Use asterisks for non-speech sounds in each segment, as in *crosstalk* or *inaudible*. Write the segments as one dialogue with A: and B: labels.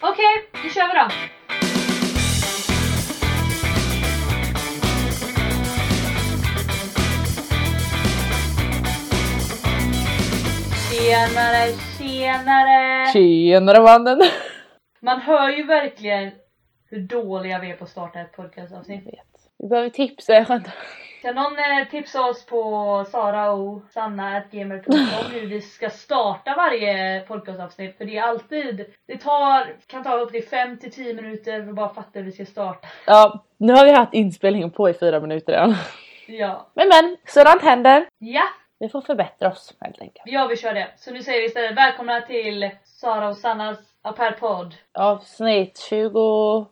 A: Okej, nu kör vi då. Tjenare, tjenare!
B: Tjenare mannen!
A: Man hör ju verkligen hur dåliga vi är på att starta ett podcastavsnitt.
B: Vi behöver tips, det är skönt.
A: Kan någon eh, tipsa oss på saraosanna.gmail.com hur vi ska starta varje podcastavsnitt? För det är alltid, det tar, kan ta upp till 5 till 10 minuter för att bara fatta hur vi ska starta.
B: Ja, nu har vi haft inspelningen på i fyra minuter redan.
A: Ja.
B: Men men, sådant händer.
A: Ja,
B: Vi får förbättra oss helt enkelt.
A: ja vi kör det. Så nu säger vi istället välkomna till Sara och Sannas Aperpod
B: Avsnitt 20.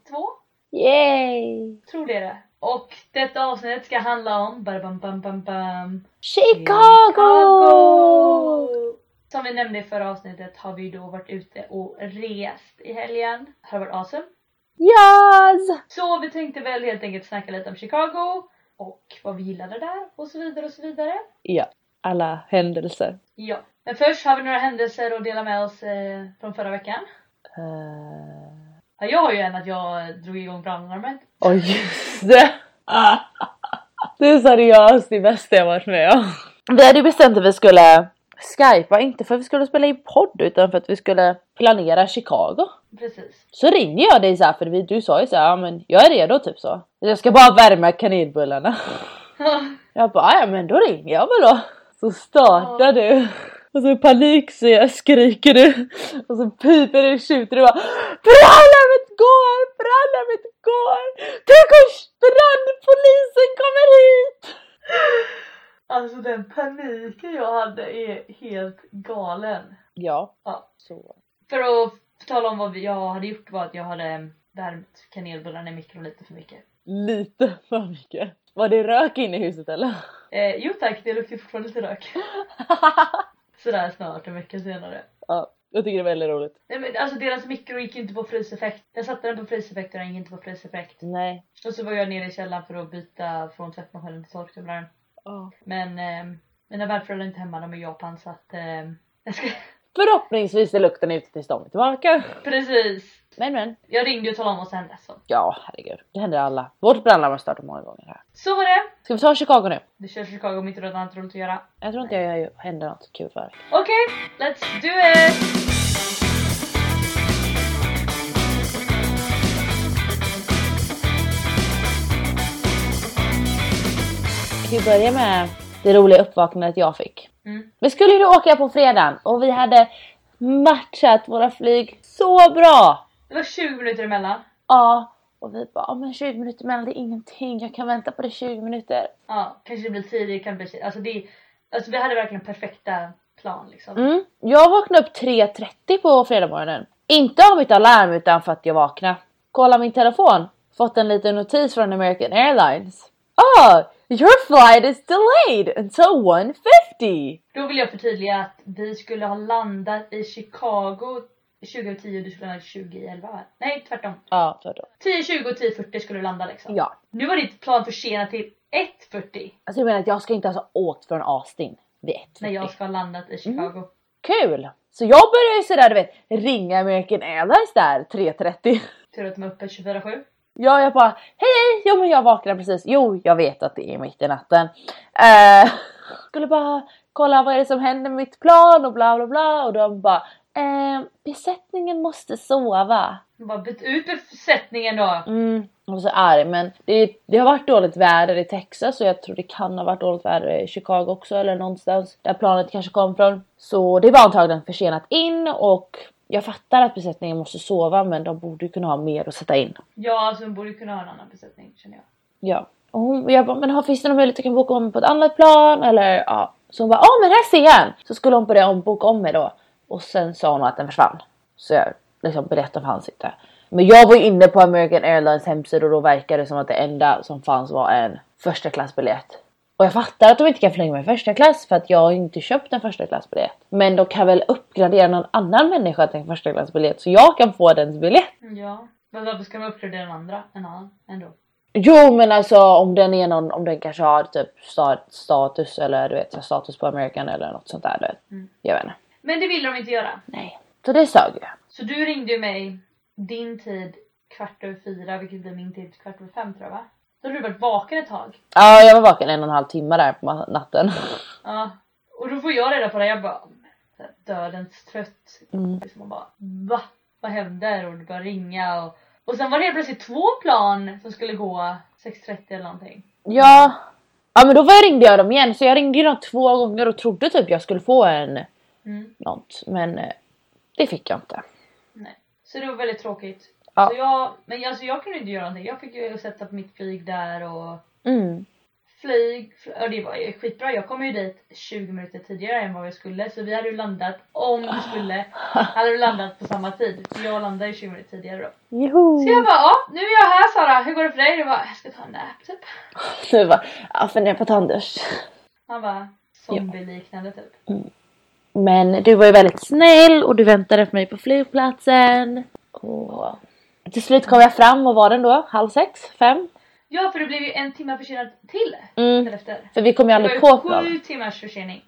A: 2.
B: Yay!
A: Tror det är det. Och detta avsnitt ska handla om bam, bam, bam, bam,
B: Chicago!
A: Som vi nämnde i förra avsnittet har vi då varit ute och rest i helgen. Det har varit awesome.
B: Yes!
A: Så vi tänkte väl helt enkelt snacka lite om Chicago och vad vi gillade där och så vidare och så vidare.
B: Ja, alla händelser.
A: Ja, men först har vi några händelser att dela med oss eh, från förra veckan.
B: Eh,
A: Ja, jag har ju en att jag drog igång brandarmet.
B: Oj, just det! Ah. Det är seriöst det bästa jag varit med om. Vi hade ju bestämt att vi skulle skypa, inte för att vi skulle spela in podd utan för att vi skulle planera Chicago.
A: Precis.
B: Så ringer jag dig så här, för vi- du sa ju så här, ja men jag är redo typ så. Jag ska bara värma kanelbullarna. Jag bara, "Ah, ja men då ringer jag väl då. Så startar
A: Ja.
B: du. Och så i panik så jag skriker du. Och så piper du och tjuter du bara Brandlarmet går! Brandlarmet går! Tänk om brandpolisen kommer hit!
A: *laughs* alltså den paniken jag hade är helt galen.
B: Ja.
A: Ja.
B: Så.
A: För att tala om vad vi- jag hade gjort var att jag hade värmt kanelbullarna i mikron lite för mycket.
B: Lite för mycket. Var det rök inne i huset eller?
A: Eh, jo tack, det luktar fortfarande lite *laughs* rök. Sådär snart en vecka senare.
B: ja, jag tycker det är väldigt roligt.
A: Nej men alltså deras mikro gick ju inte på fryseffekt. Jag satte den på fryseffekt och den gick inte på fryseffekt.
B: Nej.
A: Och så var jag nere i källaren för att byta från tvättmaskinen till torktumlaren. Men eh, mina värdföräldrar är inte hemma, de är i Japan så att... Eh, *laughs* jag ska...
B: Förhoppningsvis är lukten ute tills de är tillbaka.
A: Precis!
B: Men men.
A: Jag ringde och talade om vad som hände. Så.
B: Ja herregud, det händer alla. Vårt brandlarm har startat många gånger här.
A: så var det!
B: Ska vi ta Chicago nu?
A: Vi kör Chicago om inte du har något annat roligt att göra.
B: Jag tror inte jag händer något kul för dig.
A: Okej, let's do it!
B: Ska vi börja med det roliga uppvaknandet jag fick?
A: Mm.
B: Vi skulle ju åka på fredagen och vi hade matchat våra flyg så bra!
A: Det var 20 minuter emellan.
B: Ja, och vi bara "Ja, men 20 minuter mellan det är ingenting, jag kan vänta på det 20 minuter.
A: Ja, kanske det blir tidigt, kan det bli alltså, det, alltså vi hade verkligen perfekta plan liksom.
B: Mm. Jag vaknade upp 3.30 på fredagmorgonen. Inte av mitt alarm utan för att jag vaknade. Kolla min telefon. Fått en liten notis från American Airlines. Oh, your flight is delayed until 1.50.
A: Då vill jag förtydliga att vi skulle ha landat i Chicago 2010 och du skulle ha landat 2011 va? Nej tvärtom.
B: Ja, för då.
A: 10.20 och 10.40 skulle du landa liksom.
B: Ja.
A: Nu var ditt plan försenat till 1.40
B: Alltså jag menar att jag ska inte ens ha åkt från Austin vid 1.40.
A: när jag ska ha landat i Chicago.
B: Kul! Så jag började ju sådär du vet ringa American Airlines där 3.30.
A: Tur att de är öppet 24-7.
B: *laughs* Ja, jag bara hej hej, jo men jag vaknade precis. Jo, jag vet att det är mitt i natten. Eh, *laughs* skulle bara kolla vad är det som händer med mitt plan och bla bla bla och de bara eh, besättningen måste sova.
A: De bara byt ut besättningen då.
B: Mm, jag var så arg men det, det har varit dåligt väder i Texas och jag tror det kan ha varit dåligt väder i Chicago också eller någonstans där planet kanske kom från. Så det var antagligen försenat in och jag fattar att besättningen måste sova men de borde ju kunna ha mer att sätta in.
A: Ja alltså hon borde kunna ha en annan besättning känner jag.
B: Ja. Och hon, jag bara, men har, finns det någon möjlighet att jag kan boka om mig på ett annat plan? Eller, ja. Så hon bara, ja men här ser jag en! Så skulle hon börja om, boka om mig då. Och sen sa hon att den försvann. Så jag liksom berättade för ansikte. Men jag var ju inne på American Airlines hemsida och då verkade det som att det enda som fanns var en första klassbiljett. Och jag fattar att de inte kan förlänga mig första klass för att jag har ju inte köpt en första klassbiljett. Men de kan väl uppgradera någon annan människa till en första klassbiljett så jag kan få dens biljett.
A: Mm, Ja. Men varför ska de uppgradera den andra? En annan ändå.
B: Jo men alltså om den är någon, om den kanske har typ sta- status eller du vet så här status på American eller något sånt
A: Mm.
B: där du vet. Jag vet inte.
A: Men det ville de inte göra.
B: Nej. Så det sög ju.
A: Så du ringde ju mig din tid kvart över fyra, vilket blir min tid kvart över fem tror jag va? Då har du varit vaken ett tag.
B: Ja, jag var vaken en och en halv timme där på ma- natten. *laughs*
A: Ja. Och då får jag reda på det, jag bara "Mm, så här, dödens trött.
B: Mm.
A: Liksom och bara va? Vad händer? Och det börjar ringa och, och sen var det helt plötsligt två plan som skulle gå 6.30 eller någonting.
B: Ja. ja, men då var jag ringde jag dem igen så jag ringde ju dem två gånger och trodde typ jag skulle få en
A: Mm.
B: något men eh, det fick jag inte.
A: Nej. Så det var väldigt tråkigt.
B: Ja.
A: Så jag, men jag- alltså jag kunde inte göra någonting. Jag fick ju sätta på mitt flyg där och
B: Mm.
A: flyg, fl- ja det var ju skitbra. Jag kom ju dit 20 minuter tidigare än vad jag skulle så vi hade ju landat, om vi skulle, hade vi landat på samma tid. För jag landade ju 20 minuter tidigare då.
B: Joho!
A: Så jag bara ja, nu är jag här Sara, hur går det för dig? Jag bara, jag ska ta en nap typ.
B: Nu bara, jag funderar på Tanders.
A: Han bara, zombie-liknande typ.
B: Men du var ju väldigt snäll och du väntade på mig på flygplatsen. Och till slut kom jag fram och var den då? Halv sex? Fem?
A: Ja för det blev ju en timme försenat till
B: Mm.
A: därefter.
B: För vi kom ju
A: Det
B: aldrig på
A: var ju
B: plan.
A: sju timmars försening.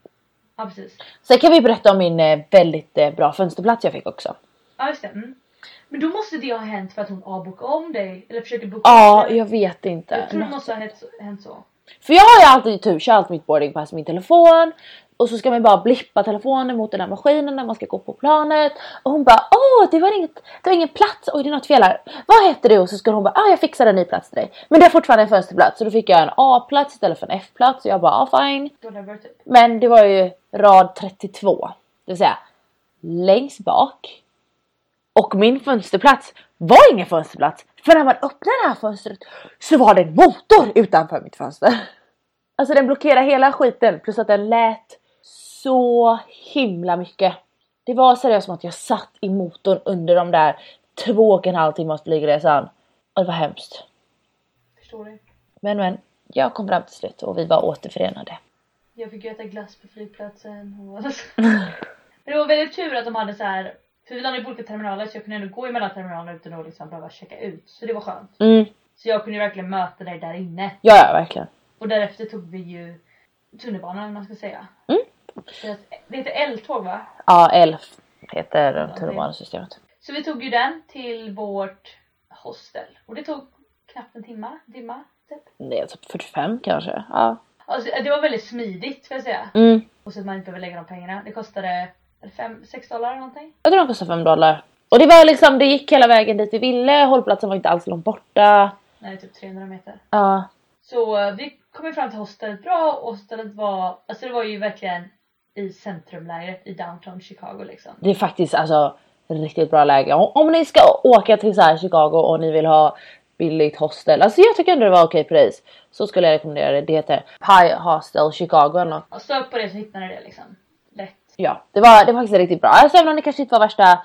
A: Ja precis.
B: Sen kan vi berätta om min eh, väldigt eh, bra fönsterplats jag fick också.
A: Ja just det. Mm. Men då måste det ha hänt för att hon avbokade om dig eller försökte boka
B: Ja,
A: om dig.
B: jag vet inte.
A: jag tror det måste ha hänt så- hänt så.
B: För jag har ju alltid tur, kör allt mitt boardingpass med min telefon. Och så ska man ju bara blippa telefonen mot den här maskinen när man ska gå på planet. Och hon bara åh det var, inget, det var ingen plats, oj det är något fel här. Vad heter du? Och så skulle hon bara ah jag fixar en ny plats till dig. Men det är fortfarande en fönsterplats så då fick jag en A-plats istället för en F-plats. Så jag bara ah fine.
A: Whatever typ.
B: Men det var ju rad 32. Det vill säga längst bak. Och min fönsterplats var ingen fönsterplats. För när man öppnade det här fönstret så var det en motor utanför mitt fönster. Alltså den blockerade hela skiten plus att den lät så himla mycket. Det var seriöst som att jag satt i motorn under de där två och en halv timmars flygresan. Och det var hemskt.
A: Förstår du?
B: Men men, jag kom fram till slut och vi var återförenade.
A: Jag fick ju äta glass på flygplatsen och... *laughs* alltså. Men det var väldigt tur att de hade så här. För vi landade i olika terminaler så jag kunde ändå gå emellan terminalerna utan att liksom behöva checka ut. Så det var skönt.
B: Mm,
A: Så jag kunde ju verkligen möta dig där inne.
B: ja ja verkligen.
A: Och därefter tog vi ju tunnelbanan om man ska säga.
B: Mm.
A: Så att- Det heter L-tåg va?
B: Ja, ELF heter tunnelbanesystemet.
A: Så vi tog ju den till vårt hostel. Och det tog knappt en timma, dimma typ.
B: Det är typ 45 kanske. Ja.
A: Alltså, det var väldigt smidigt får jag säga.
B: Mm.
A: Och så att man inte behöver lägga de pengarna. Det kostade 5-6 dollar eller någonting.
B: Jag tror de kostar 5 dollar. Och det var liksom, det gick hela vägen dit vi ville. Hållplatsen var inte alls långt borta.
A: Nej, typ 300 meter.
B: Ja.
A: Så eh, vi kom ju fram till hostelet bra och hostelet var, alltså det var ju verkligen i centrumlägret i downtown Chicago liksom.
B: Det är faktiskt alltså riktigt bra läge. Om, om ni ska åka till så här Chicago och ni vill ha billigt hostel. Alltså jag tycker ändå det var okej pris. Så skulle jag rekommendera det. Det heter Pie Hostel Chicago eller något.
A: Och sök på det så hittar ni det liksom. Lätt.
B: Ja, det var, det var faktiskt riktigt bra. Alltså även om det kanske inte var värsta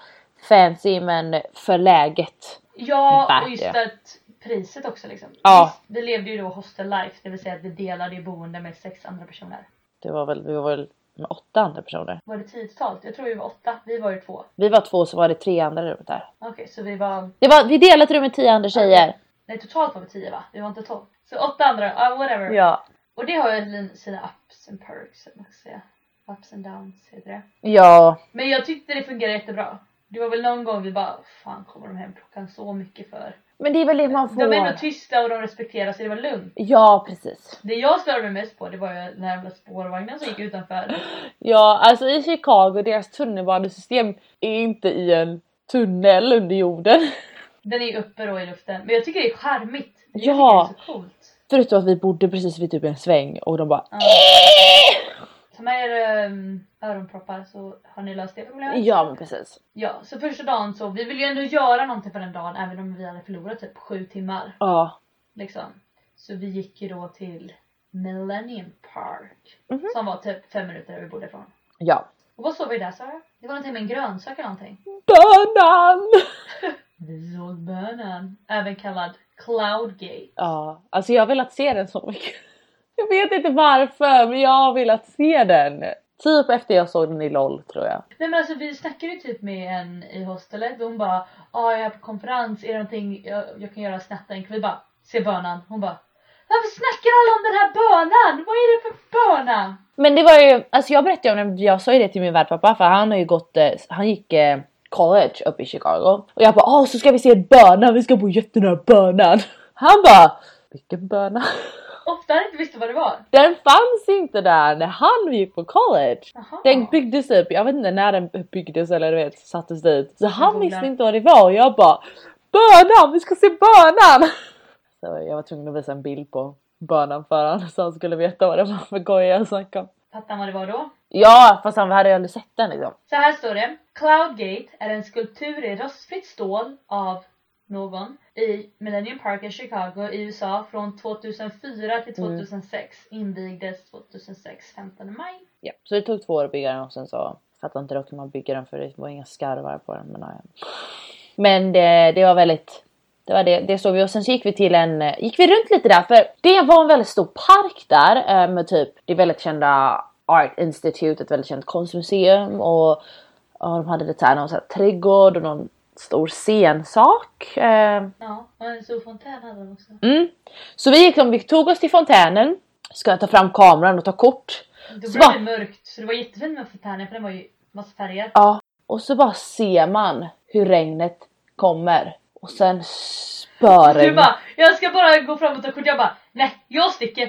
B: fancy men för läget.
A: Ja,
B: Värt
A: och just
B: det.
A: att priset också liksom.
B: Ja.
A: Visst, Vi levde ju då hostel life, det vill säga att vi delade ju boende med sex andra personer.
B: Det var väl, vi var väl med åtta andra personer.
A: Var det tiotalt? Jag tror vi var åtta, vi var ju två.
B: Vi var två så var det tre andra rummet där.
A: Okej, så vi var
B: Det var, vi delade ett rum med tio andra tjejer.
A: Nej totalt var vi 10 va? Vi var inte 12. Så åtta andra, ja whatever.
B: Ja.
A: Och det har ju lin- sina ups and perks eller vad man ska säga. Ups and downs heter det.
B: Ja.
A: Men jag tyckte det fungerade jättebra. Det var väl någon gång vi bara fan kommer de hem klockan så mycket för?
B: Men det är väl det man
A: De är ändå
B: får.
A: tysta och de respekterar så det var lugnt.
B: Ja precis.
A: Det jag störde mig mest på det var ju den här jävla spårvagnen som gick utanför.
B: Ja alltså i Chicago deras tunnelbanesystem är inte i en tunnel under jorden.
A: Den är ju uppe då i luften. Men jag tycker det är charmigt. Jag tycker
B: Ja.
A: Det är så coolt.
B: *laughs* Förutom att vi bodde precis vid typ en sväng och de bara
A: Ja. Ta med er ehm, öronproppar så har ni löst det problemet.
B: "Äh!" ja men precis.
A: Ja, så första dagen så, vi ville ju ändå göra någonting på den dagen även om vi hade förlorat typ sju timmar.
B: Ja.
A: Liksom. Så vi gick ju då till Millennium Park. Som var typ fem minuter där vi bodde ifrån.
B: Ja.
A: Och vad såg vi där Sara? Det var någonting med en grönsak eller någonting.
B: Bönan!
A: Vi såg bönan. Även kallad Cloudgate.
B: Ja alltså jag har velat se den så mycket. *laughs* Jag vet inte varför men jag har velat se den. Typ efter jag såg den i LOL tror jag.
A: Nej men alltså vi snackade ju typ med en i hostelet och hon bara Ja jag är på konferens, är det någonting jag, jag kan göra snabbt en Vi bara Se bönan. Hon bara Varför snackar alla om den här bönan? Vad är det för böna?
B: Men det var ju, alltså jag berättade ju om den, jag sa ju det till min värdpappa för han har ju gått, eh, han gick eh, college uppe i Chicago. Och jag bara åh så ska vi se bönan, vi ska bo jättenära bönan. *laughs* Han bara vilken böna? *laughs*
A: Ofta inte visste vad det var.
B: Den fanns inte där när han gick på college.
A: Jaha.
B: Den byggdes upp, jag vet inte när den byggdes eller du vet sattes dit. Så han
A: googlar.
B: visste inte vad det var och jag bara Bönan, vi ska se bönan! *laughs* Så jag var tvungen att visa en bild på bönan för honom så han skulle veta vad det var för koja jag snackade om.
A: Fattar han vad det var då?
B: Ja fast han hade ju aldrig sett den liksom.
A: Så här står det. Cloudgate är en skulptur i rostfritt stål av någon i Millennium Park i Chicago i USA från 2004 till 2006. Invigdes 2006, 15 maj.
B: Ja. Så det tog två år att bygga den och sen så fattar inte dock hur man bygger den för det var inga skarvar på den. Men, ja. ja. men det, det var väldigt, det var det, det såg vi och sen så gick vi till en, eh, gick vi runt lite där för det var en väldigt stor park där eh, med typ det väldigt kända Art Institute, ett väldigt känt konstmuseum och ja, de hade lite så här, någon så här trädgård och någon stor scensak. Eh,
A: Ja, och en stor fontän hade de också.
B: mm. Så vi, gick, vi tog oss till fontänen, ska ta fram kameran och ta kort.
A: Då
B: Så
A: blev
B: bara-
A: det mörkt, så det var jättefint med fontänen för den var ju massa färger.
B: Ja, och så bara ser man hur regnet kommer och sen
A: Du
B: spöregn.
A: bara, jag ska bara gå fram och ta kort. Jag bara, nej jag
B: *laughs*
A: sticker.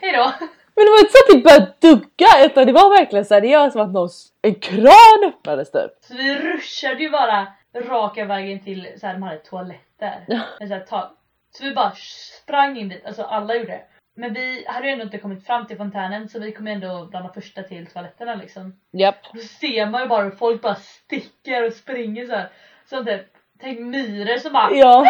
A: Hejdå.
B: Men det var inte så att det började dugga utan det var verkligen seriöst som att någon, s- en kran öppnades typ.
A: Så vi ruschade ju bara raka vägen till så här, de hade toaletter.
B: Ja.
A: Med så, här, tag. så vi bara sprang in dit, alltså alla gjorde det. Men vi hade ju ändå inte kommit fram till fontänen så vi kom ändå bland de första till toaletterna liksom.
B: Japp.
A: Då ser man ju bara hur folk bara sticker och springer så här. Som typ, tänk myror som bara
B: Ja.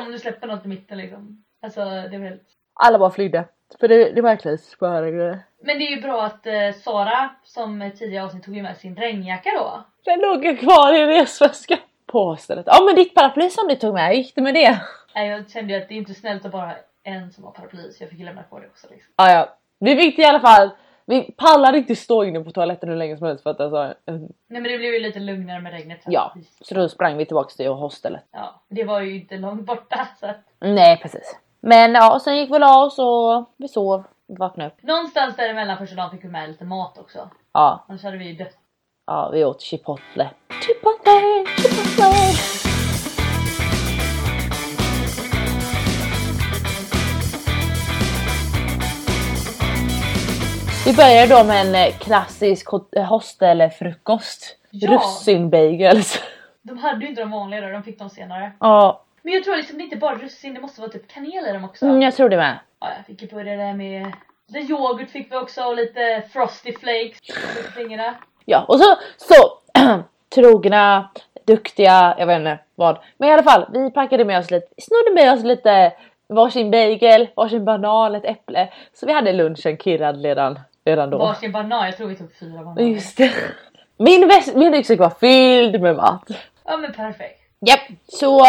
A: om du släpper något i mitten liksom. Alltså det är väl...
B: Alla bara flydde. För det, det var verkligen spöregn.
A: Men det är ju bra att eh, Sara som eh, tidigare avsnitt tog ju med sin regnjacka då.
B: Den låg ju kvar i resväskan. På stället. Ja men ditt paraply som du tog med, hur gick det med det?
A: Nej, Äh, Jag kände ju att det är inte snällt att bara ha en som har paraply så jag fick lämna kvar det också liksom.
B: Ah, ja. Vi fick i alla fall, vi pallade inte stå inne på toaletten hur länge som helst för att alltså, en-
A: Nej men det blev ju lite lugnare med regnet sen.
B: ja. Så då sprang vi tillbaks till hostelet.
A: ja. Det var ju inte långt borta *laughs* så att
B: Nej precis. Men ja, sen gick vi och la oss och vi sov, vaknade upp.
A: någonstans däremellan första dagen fick vi med lite mat också.
B: Ja,
A: Annars hade vi ju dött.
B: ja vi åt chipotle. Chipotle, chipotle. Vi börjar då med en eh, klassisk hot- eh, hostelfrukost.
A: Ja.
B: Russinbagels. *laughs*
A: De hade ju inte de vanliga där, de fick de senare.
B: Ja,
A: Men jag tror liksom det är inte bara russin, det måste vara typ kanel i dem också.
B: mm, jag tror det med.
A: Ja, jag fick ju börja där med lite yoghurt fick vi också och lite frosty flakes på fingrarna.
B: Ja, och så, så *clears throat* trogna, duktiga, jag vet inte vad. Men i alla fall, vi packade med oss lite, snodde med oss lite varsin bagel, varsin banan, ett äpple. Så vi hade lunchen kirrad redan, redan då.
A: Varsin banan, jag tror vi tog fyra
B: Ja,
A: bananer.
B: Just det. Min, väs- min ryggsäck var fylld med mat.
A: Ja men perfekt.
B: Japp, så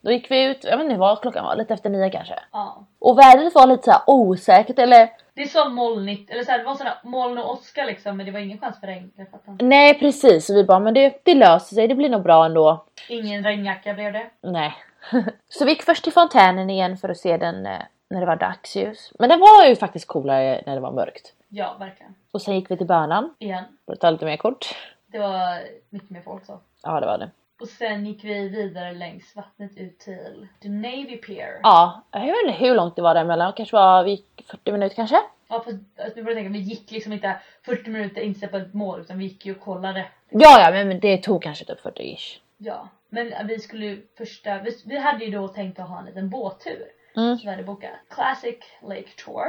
B: då gick vi ut, jag vet inte vad klockan var, lite efter nio kanske.
A: Ja.
B: Och vädret var lite så här osäkert eller
A: Det är som molnigt, eller så här, det var sådana moln och åska liksom men det var ingen chans för regn. Jag fattar inte.
B: nej precis. Så vi bara men det, det löser sig, det blir nog bra ändå.
A: Ingen regnjacka blev det.
B: Nej. *laughs* så vi gick först till fontänen igen för att se den eh, när det var dagsljus. Men den var ju faktiskt coolare när det var mörkt.
A: Ja verkligen.
B: Och sen gick vi till bönan
A: Igen.
B: för att ta lite mer kort.
A: Det var mycket mer folk så.
B: Ja det var det.
A: Och sen gick vi vidare längs vattnet ut till The Navy Pier.
B: Ja, jag vet inte hur långt det var däremellan. Kanske var vi gick 40 minuter kanske?
A: Ja, fast alltså, nu börjar jag tänka, vi gick liksom inte 40 minuter inställt på ett mål utan vi gick ju och kollade.
B: Ja, ja, men men det tog kanske typ 40-ish.
A: Ja, men vi skulle ju första, vi, vi hade ju då tänkt att ha en liten båttur.
B: Mm.
A: Så vi hade bokat Classic Lake Tour.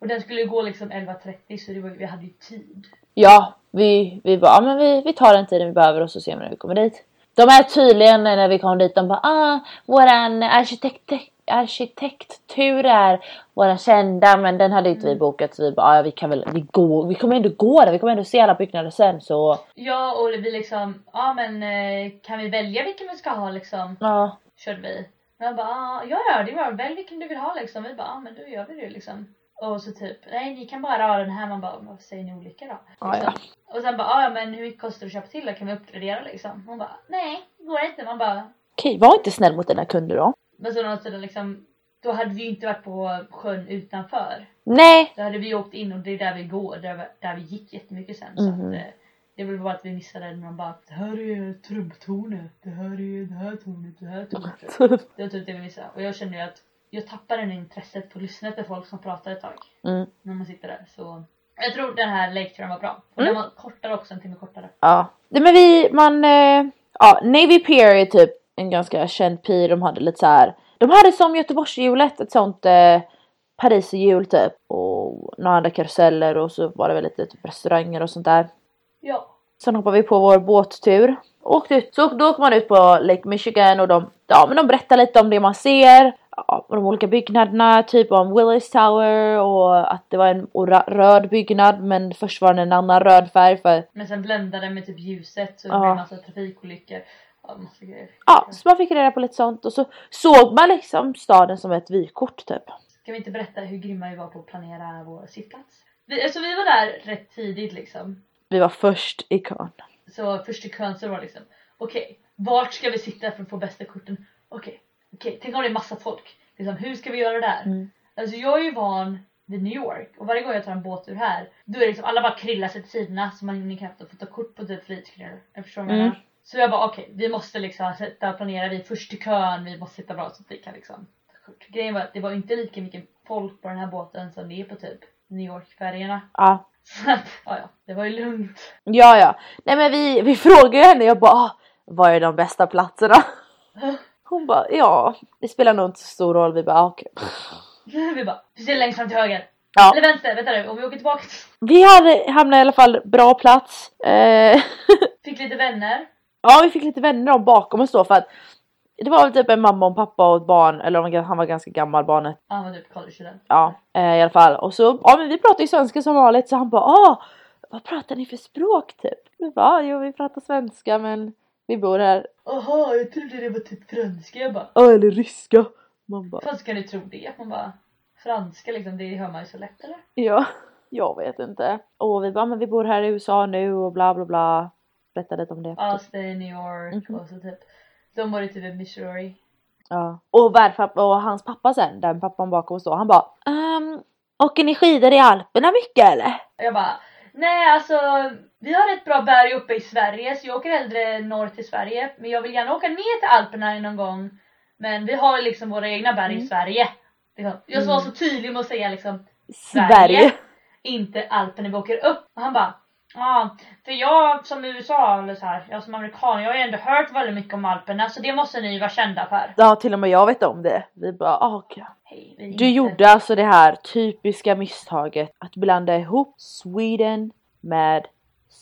A: Och den skulle ju gå liksom 11.30 så det var, vi hade ju tid.
B: Ja, vi, vi bara, ja, men vi, vi tar den tiden vi behöver och så ser vi när vi kommer dit. De är tydligen eh, när vi kom dit, de bara ah, våran arkitekt, arkitekttur är våran kända men den hade inte vi bokat så vi bara ah, ja, vi kan väl, vi, går, vi kommer ändå gå där, vi kommer ändå se alla byggnader sen så
A: Ja och vi liksom, ja men eh, kan vi välja vilken vi ska ha liksom?
B: ja.
A: Körde vi. Men jag bara, ah, ja ja det är bara välj vilken du vill ha liksom. Vi bara, ah, men då gör vi det liksom. Och så typ, nej ni kan bara ha den här. Man bara, men varför säger ni olika då?
B: Ja, ja.
A: Liksom. Och sen bara, ah, ja men hur mycket kostar det att köpa till då? Kan vi uppgradera liksom? Hon bara, nej det går inte. Man bara,
B: Okej, var inte snäll mot dina kunder då.
A: Men så å andra sidan liksom, då hade vi ju inte varit på sjön utanför.
B: Nej,
A: *laughs* Då hade vi åkt in och det är där vi går, där, vi- där vi gick jättemycket sen. Så
B: Mhm.
A: att, eh, Det var bara att vi missade när de bara det här är trumptornet, det här är det här tornet, det här tornet.
B: Typ.
A: Det var typ det vi missade och jag kände ju att jag tappade det intresset på att lyssna efter folk som pratar ett tag
B: Mm.
A: när man sitter där så jag tror den här lekturen var bra. Och
B: Mm.
A: den var kortare också, en timme kortare.
B: Ja. Nej men vi, man, eh, ja Navy Pier är typ en ganska känd pier. De hade lite så här. de hade som Göteborgshjulet ett sånt eh, Pariserhjul typ. Och några andra karuseller och så var det väl lite typ restauranger och sånt där.
A: Ja.
B: Sen hoppade vi på vår båttur. Och åkte ut. Så då åker man ut på Lake Michigan och de, ja, men de berättar lite om det man ser. Ja, och de olika byggnaderna, typ om Willis Tower och att det var en ora- röd byggnad men först var den en annan röd färg för
A: Men sen bländade det med typ ljuset så det
B: Ja.
A: blev massa trafikolyckor. Ja, massa grejer.
B: Ja, så man fick reda på lite sånt och så såg man liksom staden som ett vykort typ.
A: Ska vi inte berätta hur grymma vi var på att planera vår sittplats? Vi, alltså vi var där rätt tidigt liksom.
B: Vi var först i kön.
A: Så först i kön så var det liksom okej, vart ska vi sitta för att få bästa korten? Okej, okej, tänk om det är massa folk. Liksom, hur ska vi göra det där?
B: Mm.
A: Alltså jag är ju van vid New York och varje gång jag tar en båt ur här då är det liksom alla bara krillar sig till sidorna så man knappt får ta kort på typ flytskrinor. Jag förstår vad jag
B: Mm.
A: menar. Så jag bara okej, vi måste liksom sätta och planera, vi är först i kön, vi måste sitta bra så att vi kan liksom ta kort. Grejen var att det var inte lika mycket folk på den här båten som det är på typ New York-färjorna.
B: Ja.
A: *laughs* Så att, ja, ja, det var ju lugnt.
B: ja, ja. Nej men vi, vi frågade ju henne, jag bara "Ah, vad är de bästa platserna? Hon bara ja, det spelar nog inte så stor roll. Vi bara "Ah, okej.
A: vi bara, vi sitter längst fram till höger.
B: Ja.
A: Eller vänster, vänta nu, om vi åker tillbaka.
B: Vi hade, hamnade i alla fall bra plats. Eh, *laughs*
A: Fick lite vänner.
B: ja, vi fick lite vänner om bakom oss då för att det var väl typ en mamma och en pappa och ett barn, eller de- han var ganska gammal barnet.
A: Ja, han var typ collegestudent.
B: Ja, eh, i alla fall. Och så, ja men vi pratade ju svenska som vanligt så han bara ah, vad pratar ni för språk typ? Vi bara "Ah, jo vi pratar svenska men vi bor här.
A: Jaha, jag trodde det var typ franska. Jag bara,
B: Ja eller ryska. Man bara
A: Fan ska ni tro det? Att man bara franska liksom, det hör man ju så lätt eller?
B: ja, jag vet inte. Och vi bara "Ah, men vi bor här i USA nu och bla bla bla. Berättade lite om det.
A: Ja, stay in New York
B: Mhm.
A: och så typ. De var ju typ i Missouri.
B: Ja. Och värdpappa och hans pappa sen, den pappan bakom oss då, han bara um, åker ni skidor i Alperna mycket eller?
A: Och Jag bara, nej alltså vi har ett bra berg uppe i Sverige så jag åker hellre norr till Sverige. Men jag vill gärna åka ner till Alperna någon gång. Men vi har liksom våra egna berg i
B: Mm.
A: Sverige. Liksom. Jag var
B: Mm.
A: så tydlig med att säga liksom
B: Sverige.
A: inte Alperna vi åker upp. Och han bara Ja, för jag som USA eller så här, jag som amerikan, jag har ju ändå hört väldigt mycket om Alperna så det måste ni vara kända för.
B: Ja till och med jag vet om det. Vi bara ah, okej.
A: Hej, vi är
B: Du
A: inte-
B: gjorde alltså det här typiska misstaget att blanda ihop Sweden med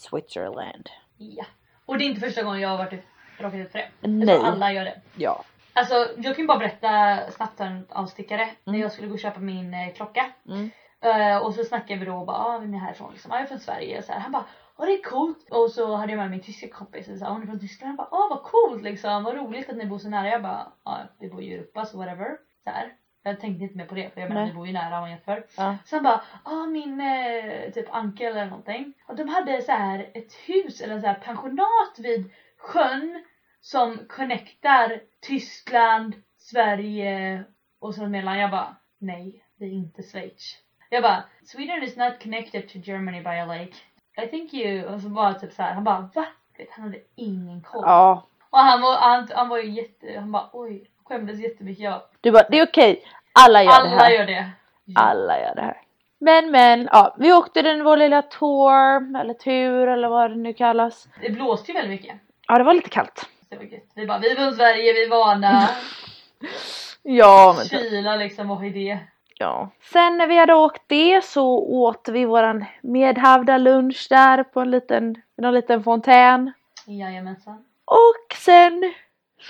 B: Switzerland.
A: Ja. Och det är inte första gången jag har varit råkat ut för det.
B: Nej.
A: Jag tror alla gör det.
B: Ja.
A: Alltså jag kan ju bara berätta snabbt om en avstickare. När
B: Mm.
A: jag skulle gå och köpa min eh, klocka.
B: Mm.
A: Eh, och så snackade vi då och bara ah, vem är härifrån liksom? Ah, jag är från Sverige. Och så här. Han bara åh det är coolt. Och så hade jag med min tyska kompis och så här, hon är från Tyskland. Han bara åh vad coolt liksom. Vad roligt att ni bor så nära. Jag bara ja vi bor ju i Europa så whatever. Så här. Jag tänkte inte mer på det för jag menar
B: Nej.
A: vi bor ju nära om man jämför.
B: Ja.
A: Sen bara, ah min eh, typ ankel eller någonting. Och de hade så här ett hus eller så här pensionat vid sjön som connectar Tyskland, Sverige och så mellan. Jag bara, nej det är inte Schweiz. Jag bara, Sweden is not connected to Germany by a lake. I think you... Och så bara typ så här, han bara va? Du vet, Han hade ingen koll.
B: ja.
A: Och han var, han, han var ju jätte, han bara oj, skämdes jättemycket. Jag,
B: Du bara det är okej. Alla gör det
A: alla
B: här.
A: gör det.
B: Alla gör det här. Men men ja, vi åkte den vår lilla tour eller tur eller vad det nu kallas.
A: Det blåste ju väldigt mycket.
B: Ja det var lite kallt.
A: Det var gött. Vi bara, vi är från Sverige, vi är vana.
B: Ja men typ.
A: Kyla liksom, vad är det?
B: Ja. Sen när vi hade åkt det så åt vi våran medhavda lunch där på en liten, någon liten fontän.
A: Jajamensan.
B: Och sen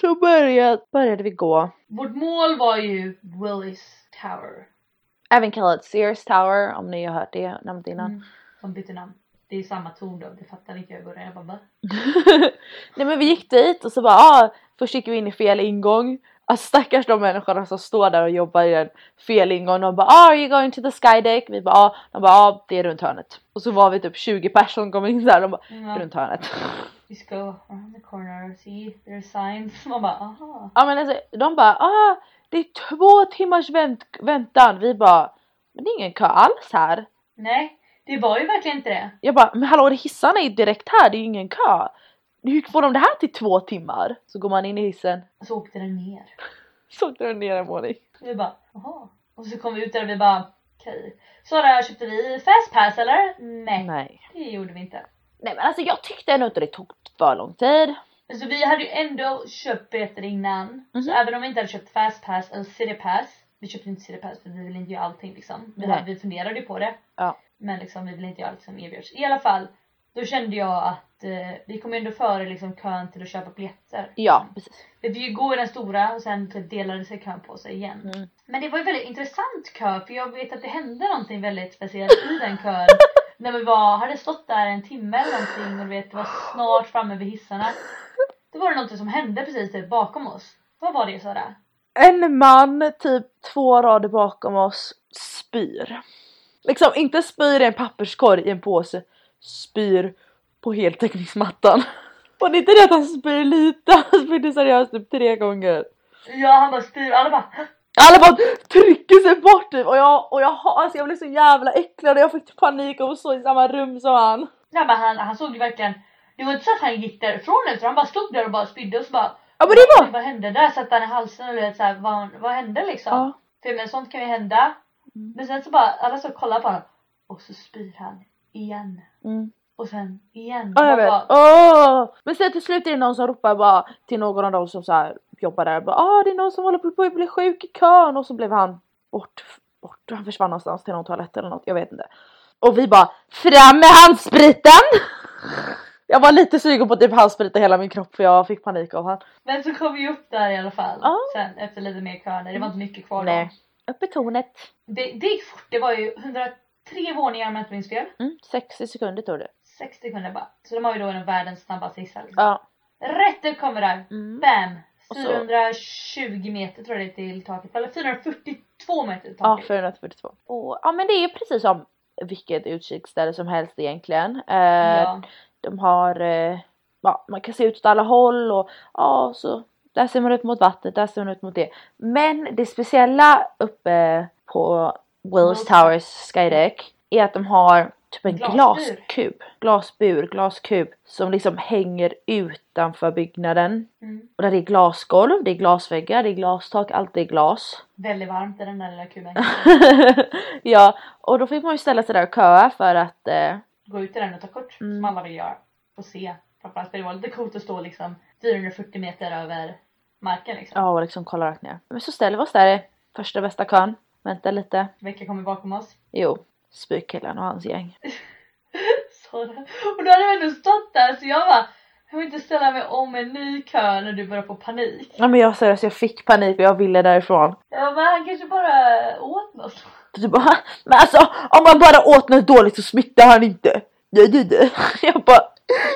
B: så började, började vi gå.
A: Vårt mål var ju Willis Tower.
B: Även kallat Sears Tower om ni har hört det namnet innan.
A: Mm. Som bytte namn. Det är samma torn då, det fattade inte jag i början. Jag bara va?
B: *laughs* Nej men vi gick dit och så bara ah, först gick vi in i fel ingång. Alltså stackars de människorna som står där och jobbar i den fel ingång. De bara ah, are you going to the skydeck? Vi bara ah. De bara ah, det är runt hörnet. Och så var vi typ 20 personer som kom in där. De bara
A: Ja,
B: runt hörnet. *laughs*
A: vi ska around the corner, see there are signs. Man bara aha.
B: Ja men alltså de bara ah, det är två timmars vänt- väntan. Vi bara men det är ingen kö alls här.
A: Nej, Det var ju verkligen inte det.
B: Jag bara, men hallå hissarna är ju direkt här, det är ju ingen kö. Hur får de det här till två timmar? Så går man in i hissen,
A: Så åkte den ner.
B: så åkte den ner en våning.
A: Vi bara jaha. Och så kom vi ut där och vi bara okej. Sara köpte vi fastpass eller? Nej,
B: Nej.
A: det gjorde vi inte.
B: Nej men alltså jag tyckte ändå inte det tog för lång tid.
A: Alltså vi hade ju ändå köpt biljetter innan. Så
B: Mhm.
A: även om vi inte hade köpt fastpass eller citypass. Vi köpte inte citypass för vi ville inte göra allting liksom. Vi,
B: Nej.
A: hade, vi funderade ju på det.
B: Ja.
A: Men liksom vi ville inte göra allt som erbjöds. I alla fall. Då kände jag att eh, vi kom ändå före liksom, kön till att köpa biljetter.
B: Ja precis.
A: Vi fick ju gå i den stora och sen typ delade sig kön på sig igen.
B: Mm.
A: Men det var ju väldigt intressant kö för jag vet att det hände någonting väldigt speciellt i den *laughs* kön. När vi var, hade stått där en timme eller någonting och du vet det var snart framme vid hissarna. Då var det någonting som hände precis typ bakom oss. Vad var det Sara?
B: En man typ två rader bakom oss spyr. Liksom inte spyr i en papperskorg i en påse, spyr på heltäckningsmattan. *laughs* Och det är inte det att han spyr lite, han spydde seriöst typ tre gånger.
A: Ja han bara spyr alla bara "Hä?"
B: Alla bara trycker sig bort typ och jag, och jag, ha- alltså jag blev så jävla äcklad och jag fick panik och stå i samma rum som han.
A: Nej, men han, han såg ju verkligen det var inte så att han gick därifrån utan han bara stod där och bara spydde och så bara
B: Ja men det var...
A: Vad hände där? Satte han i halsen och du vet såhär vad, vad hände liksom?
B: Ja.
A: För men sånt kan ju hända.
B: Mm.
A: Men sen så bara alla så kollar på honom och så spyr han igen.
B: Mm.
A: Och sen igen.
B: Ja jag
A: Man
B: vet.
A: bara,
B: Åh! Men sen till slut är det någon som ropar bara till någon av dem som så här jobbar där. Bara, ah, det är någon som håller på att bli sjuk i kön och så blev han bort, bort. Han försvann någonstans till någon toalett eller något. Jag vet inte. Och vi bara fram med handspriten! *laughs* Jag var lite sugen på att typ handsprita hela min kropp för jag fick panik av han.
A: Men så kom vi upp där i alla fall.
B: Ja.
A: Sen efter lite mer köer. Det var inte mycket kvar
B: Nej. Upp i tornet.
A: då. Det, det gick fort. Det var ju 103 våningar om jag inte minns fel.
B: Mm, 60 sekunder tog det.
A: 60 kunder bara. Så de har ju då en av världens snabbaste hissar. Liksom.
B: Ja.
A: Rätt ut kommer där.
B: Mm.
A: Bam!
B: Och så-
A: 420 meter tror jag det är till taket. Eller 442 meter till
B: Ja,
A: taket.
B: 442. Och, ja men det är precis som vilket utkiksställe som helst egentligen. Eh,
A: Ja.
B: De har, eh, ja, man kan se ut åt alla håll och ja, så där ser man ut mot vattnet, där ser man ut mot det. Men det speciella uppe på Wills
A: Wills-
B: Towers skydeck är att de har typ en
A: Glasbur.
B: glaskub, glasbur, glaskub som liksom hänger utanför byggnaden.
A: Mm.
B: Och där det är glasgolv, det är glasväggar, det är glastak, allt är glas.
A: Väldigt varmt i den där lilla kuben.
B: *laughs* ja, och då fick man ju ställa sig där och köa för att eh,
A: Gå ut i den och ta kort
B: Mm.
A: som alla vill göra. Och se. Framförallt för det var lite coolt att stå liksom 440 meter över marken liksom.
B: ja, och liksom kolla rakt ner. Men så ställer vi oss där i första bästa kön. Vänta lite.
A: Vilka kommer bakom oss? *laughs*
B: Jo, spykkillen och hans gäng.
A: Sara. Och då hade vi ändå stått där så jag bara jag vill inte ställa mig om en ny kö när du börjar få panik.
B: Ja men jag seriöst, jag fick panik och jag ville därifrån.
A: Jag bara, han kanske bara åt något.
B: Så typ bara, *laughs* men alltså om man bara åt något dåligt så smittar han inte. Nej, nej, nej. *laughs* Jag bara,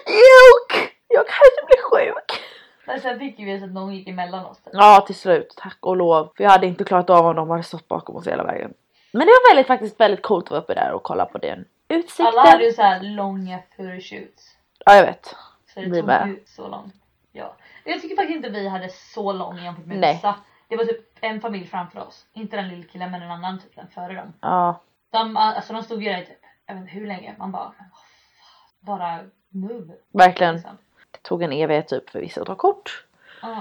B: juk! Jag kanske blir sjuk.
A: Men sen fick ju vi så att någon gick emellan oss.
B: Ja, till slut. Tack och lov. För jag hade inte klarat av om de hade stått bakom oss hela vägen. Men det var väldigt, faktiskt väldigt coolt att vara uppe där och kolla på den utsikten.
A: Alla hade ju så här långa pursuits.
B: Ja, jag vet.
A: Så
B: Vi
A: det
B: med.
A: tog ju så långt. Ja. Jag tycker faktiskt inte vi hade så lång jämfört med
B: Nej.
A: vissa. Det var typ en familj framför oss. Inte den lilla killen men en annan typ den före dem.
B: Ja,
A: De, alltså, de stod ju där i typ, jag vet inte hur länge. Man bara, men vad fan. Bara move.
B: verkligen.
A: Liksom.
B: Det tog en evighet typ för vissa att ta kort.
A: Ja.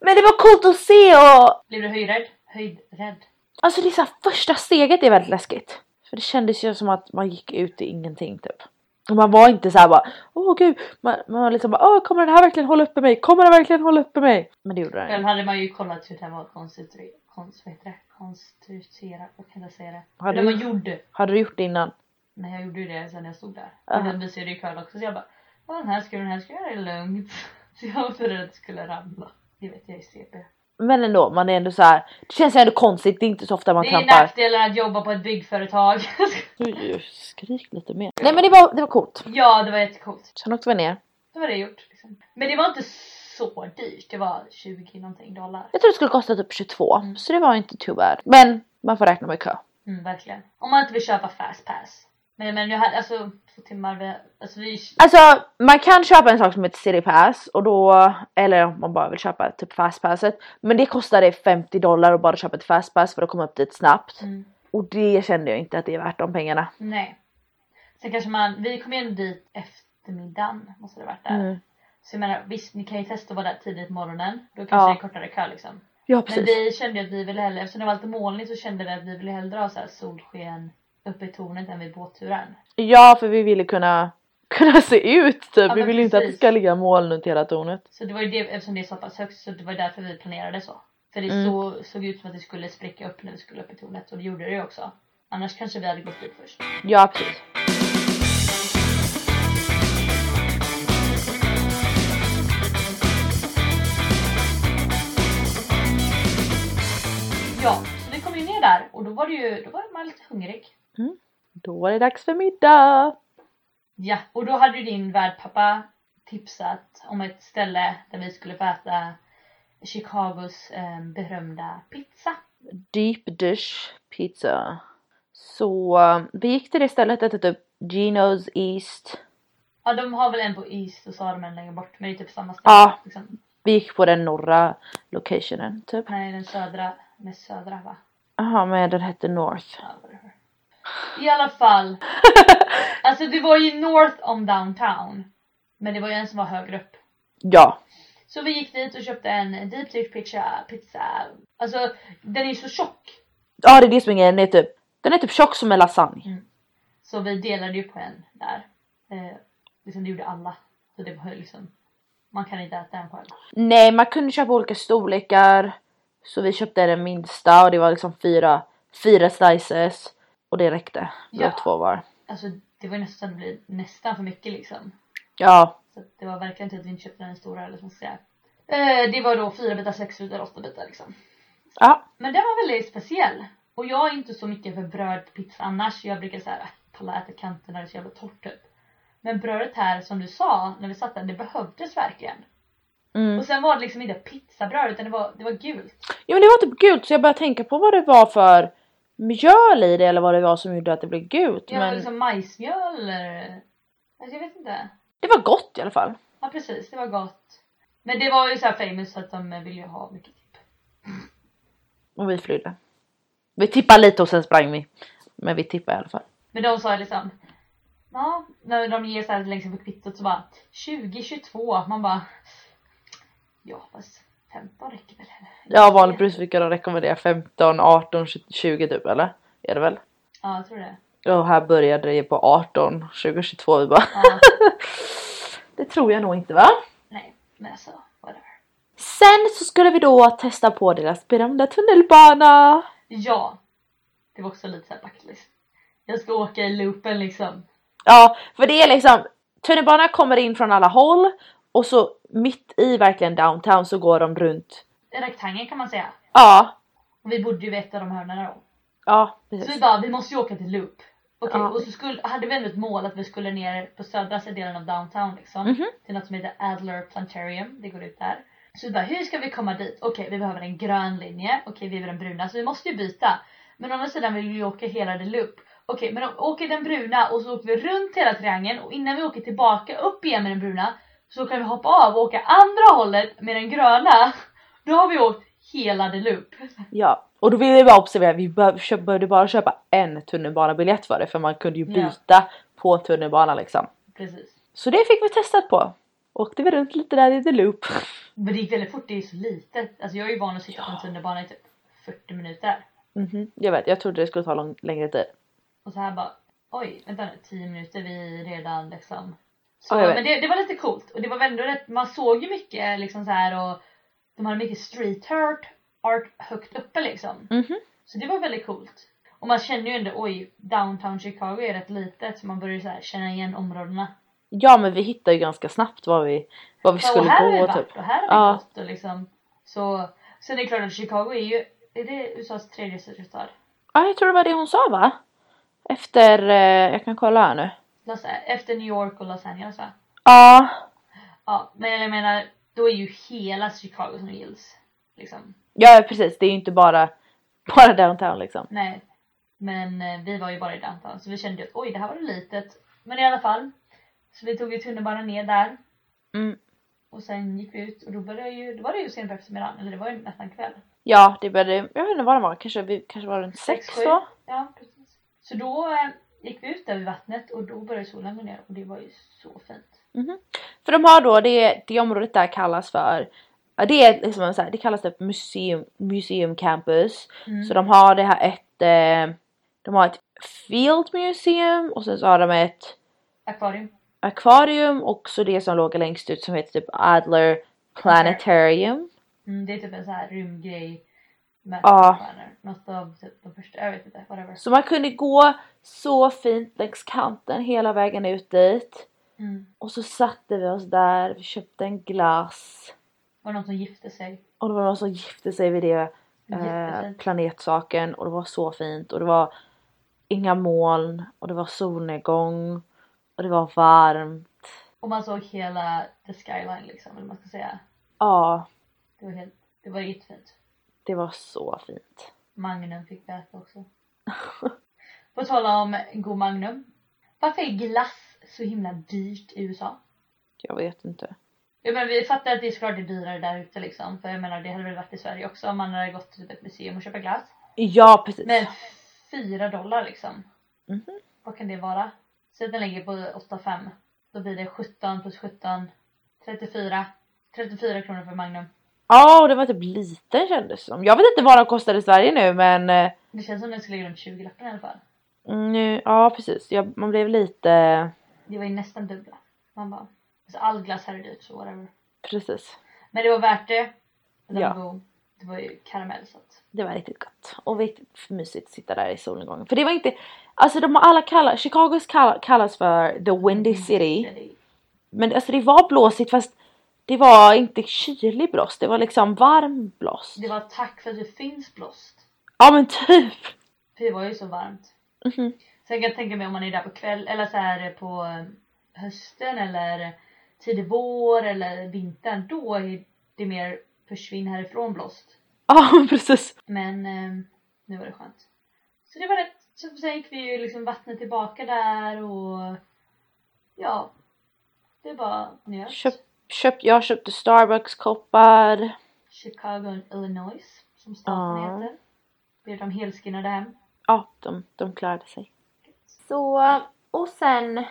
B: Men det var coolt att se och
A: Blev du höjdrädd? Höjdrädd?
B: alltså det är så här, första steget är väldigt läskigt. För det kändes ju som att man gick ut i ingenting typ. Och man var inte så här bara åh gud, man, man var liksom bara åh kommer den här verkligen hålla uppe mig? Kommer den verkligen hålla uppe mig? Men det gjorde den.
A: Själv hade man ju kollat hur den var konstituerad. Konst, vad heter det? Konstituerad, vad kan jag säga det?
B: Har
A: Hur
B: du-
A: den var gjord.
B: Hade du gjort det innan?
A: Men jag gjorde ju det sen när jag stod där.
B: Aha.
A: Och den visade ju kön också så jag bara "Ja, den här ska du, den här ska jag, det är lugnt. *laughs* Så jag var så rädd att det skulle ramla. Det vet jag i CP.
B: Men ändå, man är ändå så här. det känns ju ändå konstigt, det är inte så ofta man
A: det är ju
B: trampar.
A: nackdelen att jobba på ett byggföretag. *laughs*
B: Oj, oj, skrik lite mer. Nej men det var, det var coolt.
A: ja det var jättecoolt.
B: Sen åkte vi ner.
A: Då var det gjort. Liksom. Men det var inte så dyrt, det var 20 någonting dollar.
B: Jag tror det skulle kosta typ 22
A: Mm.
B: så det var inte too bad. Men man får räkna med kö.
A: Mm, verkligen. Om man inte vill köpa fast pass. Men, men jag hade alltså två timmar, vi- alltså vi
B: Alltså man kan köpa en sak som heter City Pass och då, eller om man bara vill köpa typ Fast Passet. Men det kostar dig 50 dollar att bara köpa ett Fast Pass för att komma upp dit snabbt.
A: mm.
B: Och det kände jag inte att det är värt de pengarna.
A: Nej. Sen kanske man, vi kom in dit eftermiddagen måste det varit där.
B: Mm.
A: Så jag menar visst ni kan ju testa att vara där tidigt på morgonen. Då kanske
B: Ja.
A: det är kortare kö liksom.
B: Ja
A: Men
B: precis.
A: vi kände ju att vi ville hellre, eftersom det var lite molnigt så kände vi att vi ville hellre ha så här solsken uppe i tornet än vid båtturen.
B: Ja för vi ville kunna, *laughs* kunna se ut typ. vi
A: men
B: vill ju inte att det
A: precis.
B: ska ligga moln runt hela tornet.
A: Så det var ju det, eftersom det är så pass högt så det var därför vi planerade så. För det
B: Mm.
A: så, såg ut som att det skulle spricka upp när vi skulle upp i tornet och det gjorde det ju också. Annars kanske vi hade gått dit först.
B: Ja precis.
A: Ja, så vi kom ju ner där och då var det ju, då var man lite hungrig.
B: Då var det dags för middag.
A: Ja, och då hade ju din värdpappa tipsat om ett ställe där vi skulle få äta Chicagos eh, berömda pizza.
B: Deep dish pizza. Så eh, vi gick till det stället, det hette typ Geno's East.
A: Ja, de har väl en på East och så har de en längre bort men det är typ samma ställe.
B: Ja.
A: Liksom.
B: Vi gick på den norra locationen typ.
A: Nej, den södra, med södra va?
B: Jaha men den hette North.
A: Ja, whatever. I alla fall. alltså det var ju north om downtown. Men det var ju en som var högre upp.
B: Ja.
A: Så vi gick dit och köpte en deep dish pizza, pizza. Alltså den är ju så tjock.
B: Ja det är det som är grejen, den är typ, den är typ tjock som en lasagne.
A: Så vi delade ju på en där. Eh, liksom det gjorde alla. Så det var ju liksom. Man kan inte äta en själv.
B: Nej man kunde köpa olika storlekar. Så vi köpte den minsta och det var liksom fyra, fyra slices. Och det räckte. Det var
A: Ja.
B: två var.
A: Alltså det var ju nästan, det blev nästan för mycket liksom.
B: Ja.
A: Så att det var verkligen inte att vi inte köpte den stora eller vad man ska säga. Eh, det var då fyra bitar, sex bitar, åtta bitar liksom.
B: Ja.
A: Men den var väldigt speciell. Och jag är inte så mycket för bröd på pizza annars. Jag brukar säga palla äta kanterna, det är så jävla torrt typ. Men brödet här som du sa när vi satt där, det behövdes verkligen.
B: Mm.
A: Och sen var det liksom inte pizzabröd utan det var, det var gult.
B: Jo men det var typ gult så jag började tänka på vad det var för mjöl i det eller vad det var som gjorde att det blev gult.
A: Det var
B: men
A: liksom majsmjöl eller... Alltså, jag vet inte.
B: det var gott i alla fall.
A: Ja precis, det var gott. Men det var ju så här famous så att de eh, ville ju ha mycket tipp.
B: Och vi flydde. Vi tippade lite och sen sprang vi. Men vi tippade i alla fall.
A: Men de sa liksom Ja, när de ger så här längst in på kvittot så bara 2022, man bara Ja fast 15 räcker väl eller?
B: Ja vanligtvis brukar de rekommendera 15, 18, 20 typ eller? Är det väl?
A: Ja jag tror det.
B: Och här började det på 18, 20, 22 vi bara
A: Ja,
B: *laughs* Det tror jag nog inte va?
A: nej men alltså whatever.
B: Sen så skulle vi då testa på deras berömda tunnelbana.
A: Ja. Det var också lite såhär backlist. Jag ska åka i loopen liksom.
B: Ja, för det är liksom tunnelbanan kommer in från alla håll och så mitt i verkligen downtown så går de runt.
A: En rektangel kan man säga.
B: Ja,
A: Och vi bodde ju vid ett av de hörnorna då.
B: ja
A: Så vi
B: precis.
A: bara, vi måste ju åka till loop. Okej,
B: Ja.
A: och så skulle, hade vi ändå ett mål att vi skulle ner på södra delen av downtown liksom.
B: Mhm.
A: Till något som heter Adler Planetarium, det går ut där. Så vi bara, hur ska vi komma dit? Okej, vi behöver en grön linje. Okej, vi behöver den bruna. Så vi måste ju byta. Men å andra sidan vill vi ju åka hela the loop. Okej, men om åker den bruna och så åker vi runt hela triangeln och innan vi åker tillbaka upp igen med den bruna så kan vi hoppa av och åka andra hållet med den gröna. Då har vi åkt hela the loop.
B: Ja, och då vill jag bara observera, vi bör- köp- behövde bara köpa en tunnelbanabiljett för det för man kunde ju
A: Ja.
B: byta på tunnelbanan liksom.
A: Precis.
B: Så det fick vi testat på. Åkte vi runt lite där i the loop. *laughs*
A: Men det gick väldigt fort, det är ju så litet. Alltså jag är ju van att sitta på en tunnelbana i typ 40 minuter.
B: Mhm, jag vet, jag trodde det skulle ta lång, längre tid.
A: Och så här bara, oj vänta nu, 10 minuter, vi är redan liksom. Så,
B: Ja, jag vet.
A: men det, det var lite coolt och det var väl ändå rätt, man såg ju mycket liksom så här och de hade mycket street art, art högt uppe liksom.
B: Mhm.
A: Så det var väldigt coolt. Och man känner ju ändå, oj, downtown Chicago är rätt litet så man börjar ju så här känna igen områdena.
B: Ja men vi hittade ju ganska snabbt var vi, var vi
A: Ja, och
B: skulle
A: här har vi
B: gå typ.
A: varit och här har vi
B: Ja.
A: gått och liksom. Så, sen är det klart att Chicago är ju, är det USAs tredje största stad?
B: Ja jag tror det var det hon sa va? Efter, eh, jag kan kolla här nu.
A: Los, efter New York och Los Angeles va?
B: Ja,
A: Ja, men jag menar då är ju hela Chicago som gills. Liksom.
B: Ja precis, det är ju inte bara, bara downtown liksom.
A: Nej. Men eh, vi var ju bara i downtown så vi kände ju att oj det här var litet. Men i alla fall. Så vi tog ju tunnelbanan ner där
B: Mm.
A: och sen gick vi ut och då, började ju, då var det ju sent på eftermiddagen, eller det var ju nästan kväll.
B: Ja, det började, jag vet inte vad det var, kanske, vi, kanske var runt sex
A: Sex, sju.
B: då?
A: Ja precis. Så då, eh, gick vi ut där vid vattnet och då började solen gå ner och det var ju så fint.
B: För de har då det, det området där kallas för ja, det, är liksom en så här, det kallas typ museum, museum campus.
A: Mm.
B: Så de har det här ett eh, de har ett field museum och sen så har de ett
A: Akvarium.
B: akvarium och så det som låg längst ut som heter typ Adler Planetarium.
A: Mm, det är typ en sån här rymdgrej med
B: Ja.
A: stjärnor. Något av typ de första, jag vet inte, whatever.
B: Så man kunde gå så fint längs kanten hela vägen ut dit.
A: Mm.
B: Och så satte vi oss där, vi köpte en glass.
A: Var det någon som gifte sig?
B: Och det var någon som gifte sig vid det eh,
A: Jättefint.
B: planetsaken och det var så fint och det var inga moln och det var solnedgång och det var varmt.
A: Och man såg hela the skyline liksom, eller vad man ska säga.
B: Ja,
A: Det var, helt, det var jättefint.
B: det var så fint.
A: Magnum fick vi äta
B: *laughs*
A: också. På tal om god Magnum. Varför är glass så himla dyrt i USA?
B: Jag vet inte.
A: Ja, men vi fattar att det är såklart det är dyrare där ute liksom. För jag menar det hade väl varit i Sverige också om man hade gått till typ ett museum och köpt glass.
B: Ja precis.
A: Men 4 typ dollar liksom.
B: Mhm.
A: Vad kan det vara? Säg att den ligger på 8,5. Då blir det 17 plus 17. 34. 34 kronor för Magnum.
B: Ja och det var typ liten kändes det som. Jag vet inte vad de kostade i Sverige nu men eh, mm,
A: Det känns som den skulle ligga runt 20 lappen i alla fall.
B: nu, ja precis. Jag, man blev lite
A: Det var ju nästan dubbla. Man bara. Alltså all glass här är dyrt så whatever.
B: precis.
A: Men det var värt det. Den
B: Ja.
A: var god. Det var ju karamell så att.
B: Det var riktigt gott och riktigt mysigt att sitta där i solnedgången. För det var inte, alltså de har alla kallat, Chicagos kall, kallas för the windy
A: Mm,
B: city. Men alltså det var blåsigt fast det var inte kylig blåst, det var liksom varm blåst.
A: Det var tack för att det finns blåst.
B: Ja men typ!
A: För det var ju så varmt.
B: Mhm.
A: Sen kan jag tänka mig om man är där på kväll eller så här på eh, hösten eller tidig vår eller vintern. Då är det mer försvinn härifrån blåst.
B: Ja *laughs* men precis.
A: Men eh, nu var det skönt. Så det var rätt. Så sen gick vi ju liksom vattnet tillbaka där och ja. Det var njöt.
B: Köp, köp, jag köpte Starbucks-koppar.
A: Chicago och Illinois som staten
B: Ja.
A: heter. Blev de helskinnade hem.
B: Ja, de, de klarade sig. Så, och sen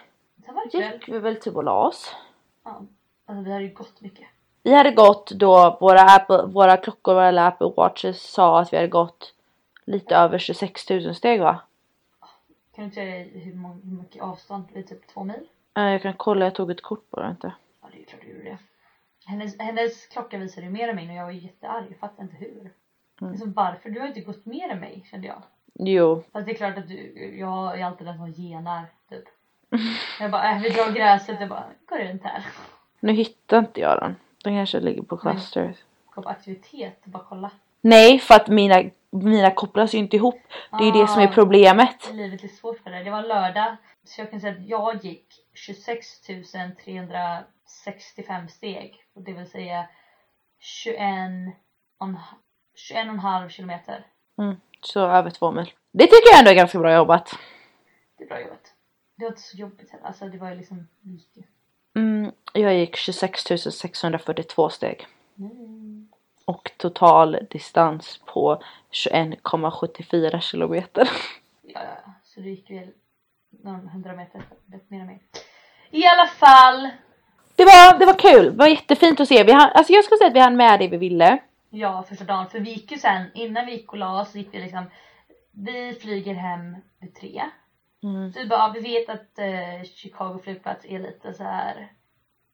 A: Sen var det kväll.
B: gick vi väl typ och la oss.
A: Ja. Alltså vi hade ju gått mycket.
B: Vi hade gått då våra, Apple, våra klockor eller Apple Watches sa att vi hade gått lite över 26 000 steg va?
A: Kan du inte säga hur mång- hur mycket avstånd? Det är typ två mil.
B: Eh, Jag kan kolla, jag tog ett kort på det inte.
A: Ja det är klart du gjorde det. Hennes, hennes klocka visade ju mer än min och jag var jättearg. Jag fattar inte hur. Liksom, varför? Du har inte gått mer än mig kände jag.
B: Jo,
A: Fast det är klart att du, jag är alltid den som genar typ. Jag bara, äh, vi drar gräset. Jag bara, går runt här.
B: nu hittar inte jag den. Den kanske ligger på clusters.
A: Gå på aktivitet och bara kolla.
B: Nej, för att mina, mina kopplas ju inte ihop. Det är ju det som är
A: Ah.
B: problemet.
A: livet är svårt för dig. Det var lördag så jag kan säga att jag gick 26 365 steg. Och det vill säga 21 och en ha- 21 och en halv kilometer.
B: Mm, så över två mil. Det tycker jag ändå är ganska bra jobbat.
A: Det är bra jobbat. Det var inte så jobbigt heller. Alltså det var ju liksom det gick ju.
B: Mm, jag gick 26 642 steg
A: Mm.
B: och total distans på 21,74 kilometer. *laughs*
A: Ja, ja, ja. Så det gick väl någon hundra meter rätt mer än mig. I alla fall.
B: Det var, det var kul, det var jättefint att se. Vi hann, alltså jag skulle säga att vi hann med det vi ville.
A: Ja, första dagen. För vi gick ju sen, innan vi gick och la oss så gick vi liksom. Vi flyger hem vid tre.
B: Mm.
A: Vi bara, vi vet att eh, Chicago flygplats är lite så här.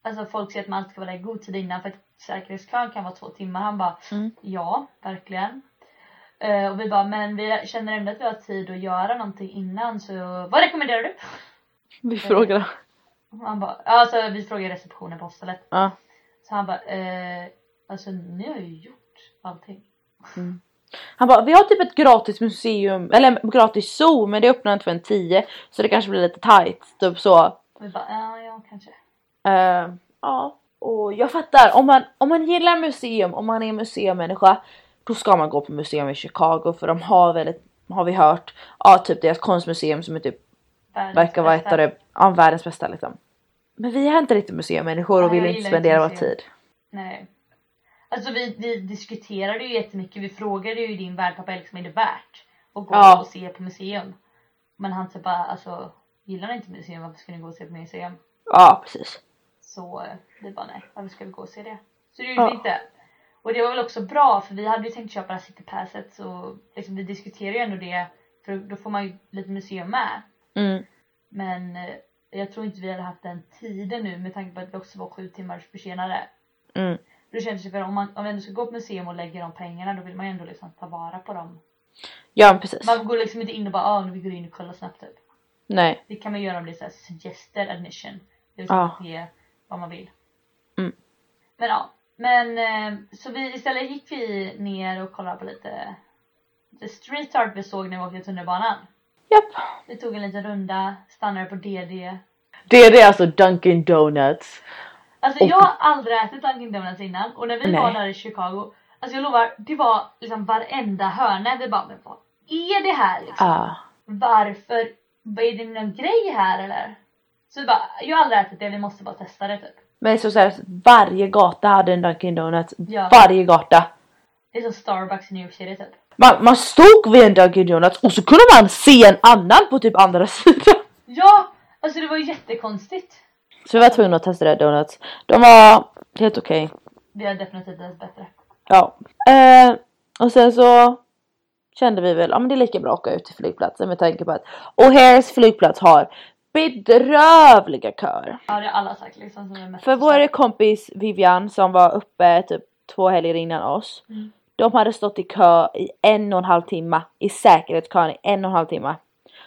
A: Alltså folk säger att man alltid ska vara där i god tid innan för att säkerhetskön kan vara två timmar. Han bara,
B: Mm.
A: ja verkligen. Eh, och vi bara, men vi känner ändå att vi har tid att göra någonting innan så vad rekommenderar du?
B: Vi frågade.
A: Och Han bara, alltså vi frågar receptionen på hostellet.
B: Ja.
A: Så han bara, eh, alltså ni har ju gjort allting.
B: Han bara, vi har typ ett gratis museum, eller gratis zoo men det öppnar inte förrän 10 så det kanske blir lite tight. Typ så.
A: Och vi bara, ja, ja kanske.
B: Eh, ja, och jag fattar. Om man, om man gillar museum, om man är museumänniska, då ska man gå på museum i Chicago för de har väldigt, har vi hört, ja typ deras konstmuseum som är typ,
A: Världens
B: verkar vara ett
A: bästa.
B: av det- ja, världens bästa liksom. Men vi är inte riktigt museumänniskor och
A: Nej,
B: vill
A: jag
B: inte
A: gillar
B: spendera
A: inte
B: vår
A: museum.
B: tid.
A: Nej. Alltså vi, vi diskuterade ju jättemycket, vi frågade ju din värdpappa liksom, är det värt att gå
B: Ja.
A: och se på museum? Men han typ bara alltså gillar ni inte min Instagram varför ska ni gå och se på min Instagram?
B: Ja precis.
A: Så eh, vi bara nej varför ska vi gå och se det? Så det gjorde
B: Ja.
A: vi inte. Och det var väl också bra för vi hade ju tänkt köpa det här citypasset så liksom, vi diskuterade ju ändå det för då får man ju lite museum med.
B: Mm.
A: Men eh, jag tror inte vi hade haft den tiden nu med tanke på att vi också var sju timmar försenade.
B: Mm.
A: Då kändes det för om man om vi ändå ska gå på museum och lägga de pengarna då vill man ju ändå liksom ta vara på dem.
B: Ja men precis.
A: Man går liksom inte in och bara ah, nu vi går in och kollar snabbt typ.
B: Nej.
A: Det kan man göra om det är såhär suggested admission. Det vill
B: Ja.
A: säga ge vad man vill.
B: Mm.
A: Men ja. Men eh, så vi istället gick vi ner och kollade på lite, lite street art vi såg när vi åkte tunnelbanan.
B: Japp.
A: Vi tog en liten runda, stannade på DD.
B: Det är det alltså Dunkin Donuts.
A: Alltså
B: Och-
A: jag har aldrig ätit Dunkin Donuts innan och när vi var
B: Nej.
A: där i Chicago, alltså jag lovar, det var liksom varenda hörna. Vi bara, men vad är det här liksom?
B: Ja.
A: varför, vad är det någon grej här eller? Så vi bara, jag har aldrig ätit det, vi måste bara testa det typ.
B: Men så såhär, varje gata hade en Dunkin Donuts.
A: Ja.
B: Varje gata.
A: Det är som Starbucks i New York City typ.
B: Man, man stod vid en Dunkin Donuts och så kunde man se en annan på typ andra *laughs* sidan.
A: Ja! Alltså det var ju jättekonstigt.
B: Så vi var tvungna att testa det här donuts. De var helt okej.
A: Vi har definitivt ätit bättre.
B: Ja. Eh, och sen så kände vi väl, ja men det är lika bra att åka ut till flygplatsen med tanke på att O'Hares flygplats har bedrövliga köer.
A: Ja det har alla sagt liksom som är mest
B: För vår kompis Vivian som var uppe typ två helger innan oss.
A: Mm.
B: De hade stått i kö i en och en halv timme. I säkerhetskön i en och en halv timme.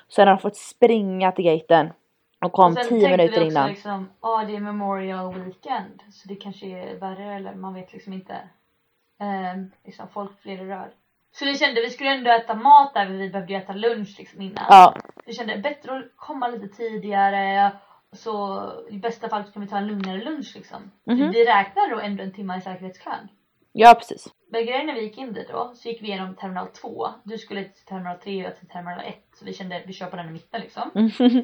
B: Sen har de fått springa till gaten. Och kom
A: Och sen
B: tio
A: tänkte
B: minuter
A: vi också
B: innan.
A: liksom, ja det är Memorial Weekend. Så det kanske är värre eller man vet liksom inte. Ehm, liksom folk fler i rör. Så vi kände vi skulle ändå äta mat där men vi behövde ju äta lunch liksom innan.
B: Ja,
A: Vi kände bättre att komma lite tidigare. Så i bästa fall så kan vi ta en lugnare lunch liksom.
B: Mhm.
A: Vi räknar då ändå en timme i säkerhetskön.
B: ja precis. *laughs*
A: Men grejen när vi gick in dit då så gick vi igenom terminal 2. Du skulle till terminal 3 och jag till terminal 1. Så vi kände att vi kör på den i mitten liksom.
B: Mhm.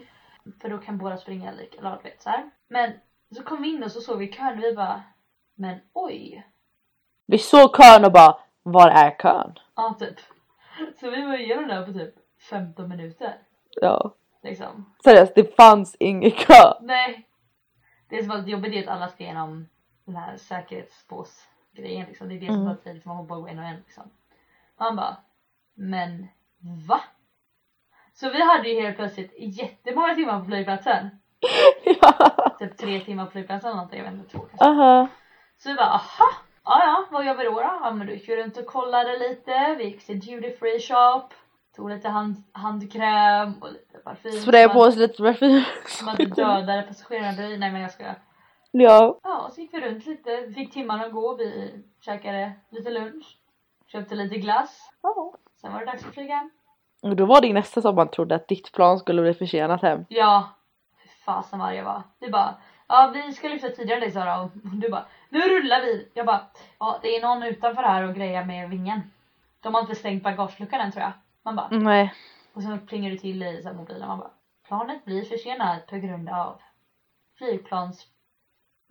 A: För då kan båda springa lika eller du vet så här. Men så kom vi in och så såg vi kön och vi bara Men oj!
B: Vi såg kön och bara, var är kön?
A: Ja typ. Så vi var igenom det här på typ 15 minuter.
B: Ja.
A: Liksom.
B: Seriöst, det fanns ingen kö. *laughs*
A: Nej. Det som var lite jobbigt är att alla ska igenom den här säkerhetsbåsgrejen liksom. Det är det som
B: Mm.
A: tar tid för man får bara gå en och en liksom. Och han bara Men va? Så vi hade ju helt plötsligt jättemånga timmar på flygplatsen.
B: ja.
A: Typ tre timmar på flygplatsen eller någonting, jag vet inte, två kanske.
B: Aha.
A: Så vi bara aha, ja ja, vad gör vi då då? Ja men du gick ju runt och kollade lite, vi gick till Duty Free Shop, tog lite hand, handkräm och lite parfym.
B: Sprayade
A: som
B: på
A: man-
B: oss lite parfym.
A: Som att du dödade passagerarna, nej men jag ska
B: *laughs* ja.
A: Ja, och så gick vi runt lite, fick timmarna att gå, vi käkade lite lunch, köpte lite glass,
B: Ja.
A: sen var det dags att flyga hem.
B: Och då var det ju nästan som man trodde att ditt plan skulle bli försenat hem.
A: Ja, fy fasen vad arg jag var. Du bara, ja vi ska lyfta tidigare än dig Sara och du bara, nu rullar vi. Jag bara, ja det är någon utanför här och grejer med vingen. De har inte stängt bagageluckan än tror jag. Man bara,
B: Nej.
A: och sen plingar det till i så här mobilen. Man bara, planet blir försenat på grund av flygplans...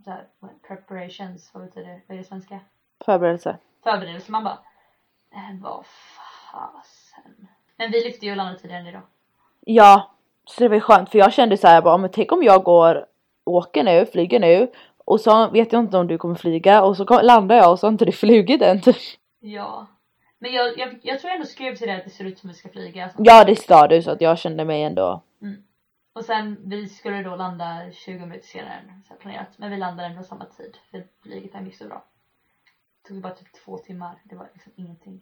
A: Så här, preparations, vad betyder det? Vad är det svenska?
B: Förberedelse.
A: förberedelser. Man bara, "Eh, vad fasen. Men vi lyfte ju och landade tidigare än idag.
B: Ja. Så det var ju skönt för jag kände så här, jag bara, men tänk om jag går, åker nu, flyger nu och så vet jag inte om du kommer flyga och så kom- landar jag och så har inte du flugit än *laughs* typ.
A: Ja. Men jag, jag, jag tror jag ändå skrev till dig att det ser ut som att vi ska flyga. Alltså.
B: Ja det sa du så att jag kände mig ändå.
A: Och sen vi skulle då landa 20 minuter senare än så här planerat. Men vi landade ändå samma tid. För flyget hem gick så bra. Det tog bara typ två timmar. Det var liksom ingenting.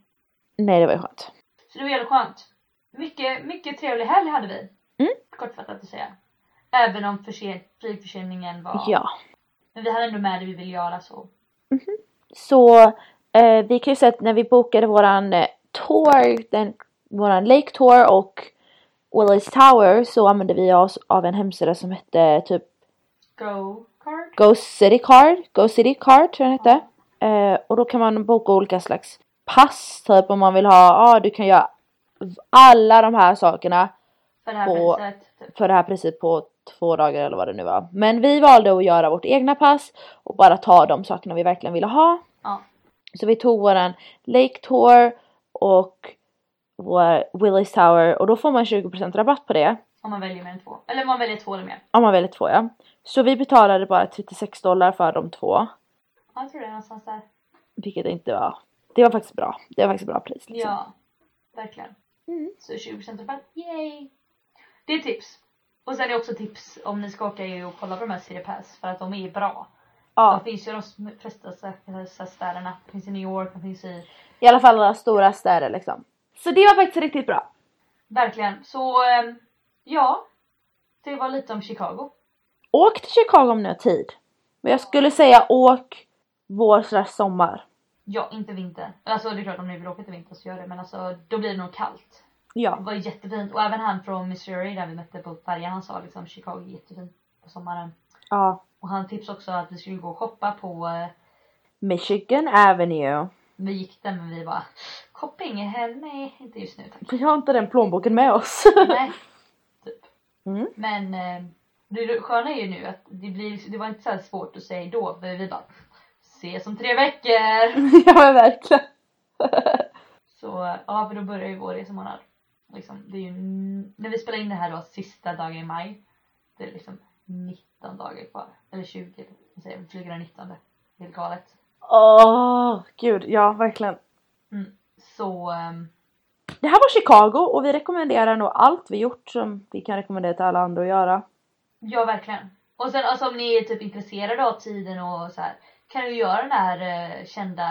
B: Nej det var ju skönt.
A: Så det var jävligt skönt. Mycket, mycket trevlig helg hade vi.
B: Mm.
A: Kortfattat att säga. Även om försen, flygförseningen var...
B: Ja.
A: Men vi hade ändå med det vi ville göra så.
B: Så eh, vi kan ju säga att när vi bokade våran eh, tour, den, våran Lake Tour och Willis Tower så använde vi oss av en hemsida som hette typ
A: Go kart.
B: Go City Card, Go City Card tror jag den hette. Eh, och då kan man boka olika slags pass typ om man vill ha, ja ah, du kan göra alla de här sakerna
A: För det här
B: på-
A: priset. Typ.
B: för det här priset på två dagar eller vad det nu var. Men vi valde att göra vårt egna pass och bara ta de sakerna vi verkligen ville ha.
A: Ja.
B: Så vi tog våran Lake Tour och vår Willis Tower och då får man 20% rabatt på det
A: Om man väljer mer än två. Eller om man väljer två eller mer.
B: om man väljer två ja. Så vi betalade bara 36 dollar för de två,
A: Ja, jag tror det är någonstans där.
B: vilket inte var. Det var faktiskt bra. Det var faktiskt bra pris. Liksom.
A: Ja, verkligen.
B: Mm.
A: Så 20% rabatt, yay! Det är tips. Och sen är också tips om ni ska åka EU och kolla på de här City Pass för att de är bra.
B: Ja,
A: De finns ju i de sm- flesta så här- så här städerna. De finns i New York, de finns i...
B: i alla fall alla stora städer liksom. Så det var faktiskt riktigt bra.
A: Verkligen. Så ehm, ja, det var lite om Chicago.
B: Åk till Chicago om ni har tid. Men jag skulle säga åk vår slash sommar.
A: Ja, inte vinter. Alltså det är klart om ni vill åka till vinter så gör det men alltså då blir det nog kallt. Det
B: Ja,
A: var jättefint och även han från Missouri där vi mötte på färjan han sa liksom Chicago är jättefint på sommaren.
B: ja.
A: Och han tipsade också att vi skulle gå och shoppa på eh,
B: Michigan Avenue.
A: Vi gick där men vi bara Shopping, här, nej inte just nu tack.
B: *laughs* Vi har inte den plånboken med oss. *laughs*
A: Nej. Typ.
B: Mm.
A: Men eh, det det sköna är ju nu att det, blir, det var inte så här svårt att säga då för vi bara ses om tre veckor.
B: ja men verkligen.
A: Så eh, ja för då börjar ju vår resemånad. Liksom, det är ju, n- när vi spelar in det här då sista dagen i maj. Det är liksom 19 dagar kvar. Eller 20. Vi säger, vi flyger den 19. Det är helt galet.
B: Åh, gud. Ja, verkligen.
A: Så ehm,
B: Det här var Chicago och vi rekommenderar nog allt vi gjort som vi kan rekommendera till alla andra att göra. *laughs*
A: Ja, verkligen. Och sen alltså, om ni är typ intresserade av tiden och så här, kan du göra den här eh, kända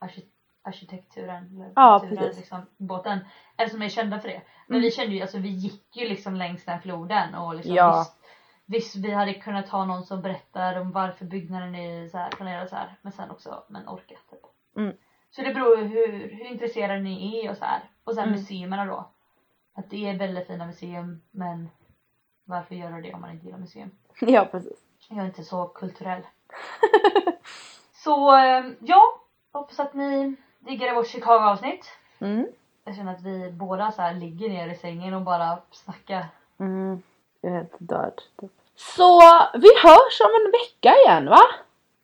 A: arki- arkitekturen, eller
B: Ja,
A: kulturen,
B: precis.
A: liksom, båten, eller som är kända för det. Men
B: Mm.
A: vi kände ju, alltså vi gick ju liksom längs den här floden och liksom
B: Ja.
A: visst, visst, vi hade kunnat ha någon som berättar om varför byggnaden är så här, planerad så här, men sen också, men orkat typ.
B: Mm.
A: Så det beror ju hur, hur intresserade ni är och så här. Och sen
B: Mm.
A: museerna då. Att det är väldigt fina museum, men varför göra det om man inte gillar museum?
B: Ja, precis.
A: Jag är inte så kulturell. *laughs* så eh, ja, hoppas att ni diggade vårt Chicago-avsnitt.
B: Mm.
A: Jag känner att vi båda så här ligger ner i sängen och bara snackar.
B: Mm. Jag är helt död. Typ. Så vi hörs om en vecka igen va?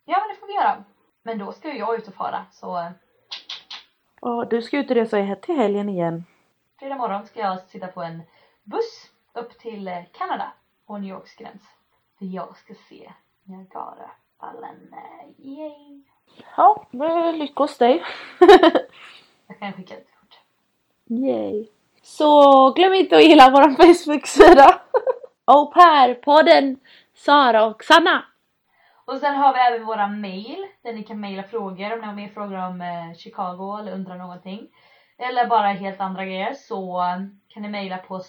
A: Ja men det får vi göra. Men då ska ju jag ut och fara så eh,
B: Ja, du ska ut och resa he- till helgen igen.
A: fredag morgon ska jag alltså sitta på en buss upp till eh, Kanada och New Yorks gräns. För jag ska se Niagarafallen. Eh, Yay!
B: Ja, men lycka hos dig.
A: Jag kan skicka ett kort.
B: *laughs* Yay. Så glöm inte att gilla vår Facebook-sida. *laughs* Au pair-podden Sara och Sanna.
A: Och sen har vi även våra mail där ni kan mejla frågor om ni har mer frågor om eh, Chicago eller undrar någonting. Eller bara helt andra grejer så eh, kan ni mejla på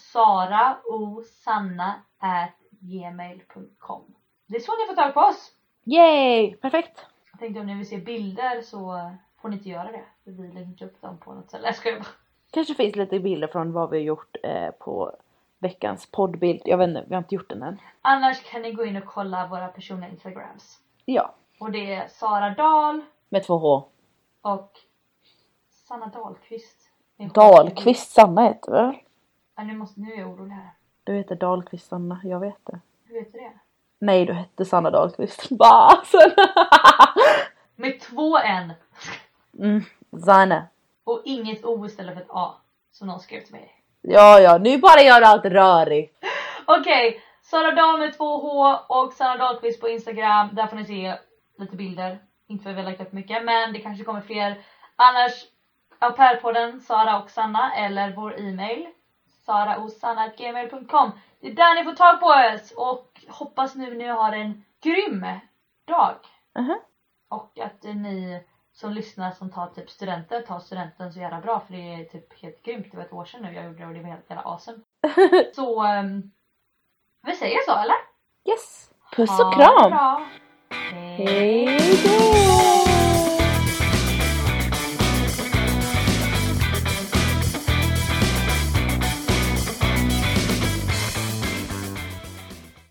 A: saraosanna.gmail.com Det är så ni får tag på oss!
B: Yay! Perfekt.
A: Jag tänkte om ni vill se bilder så eh, får ni inte göra det. För vi lägger inte upp dem på något ställe. Jag skojar bara.
B: Kanske finns lite bilder från vad vi har gjort eh, på veckans poddbild. Jag vet inte, vi har inte gjort den än.
A: Annars kan ni gå in och kolla våra personliga instagrams.
B: Ja,
A: Och det är Sara Dahl
B: med två H.
A: och Sanna Dahlqvist.
B: Dahlqvist Sanna heter det väl?
A: Ja, nu, måste, nu är jag orolig här.
B: Du heter Dahlqvist Sanna, jag vet det.
A: Hur vet du det?
B: Nej, du hette Sanna Dahlqvist. *laughs* Bara
A: Med två N
B: mm, Sanna.
A: och inget O istället för ett A. Som någon skrev till mig.
B: Ja, ja, nu bara gör du allt rörigt. *laughs*
A: Okej, Sara Dahl med två H och Sara Dahlqvist på Instagram. Där får ni se lite bilder. Inte för att vi har lagt upp mycket men det kanske kommer fler. Annars au pair-podden Sara och Sanna eller vår e-mail saraosanna.gmail.com Det är där ni får tag på oss och hoppas nu ni har en grym dag.
B: Mhm.
A: Och att ni som lyssnar som tar typ studenter, tar studenten så jävla bra för det är typ helt grymt. Det var ett år sedan nu jag gjorde det och det var helt jävla awesome. så ehm, vi säger så eller?
B: Yes. Puss
A: Ha
B: och
A: det
B: kram.
A: bra. Hej.
B: Hej då.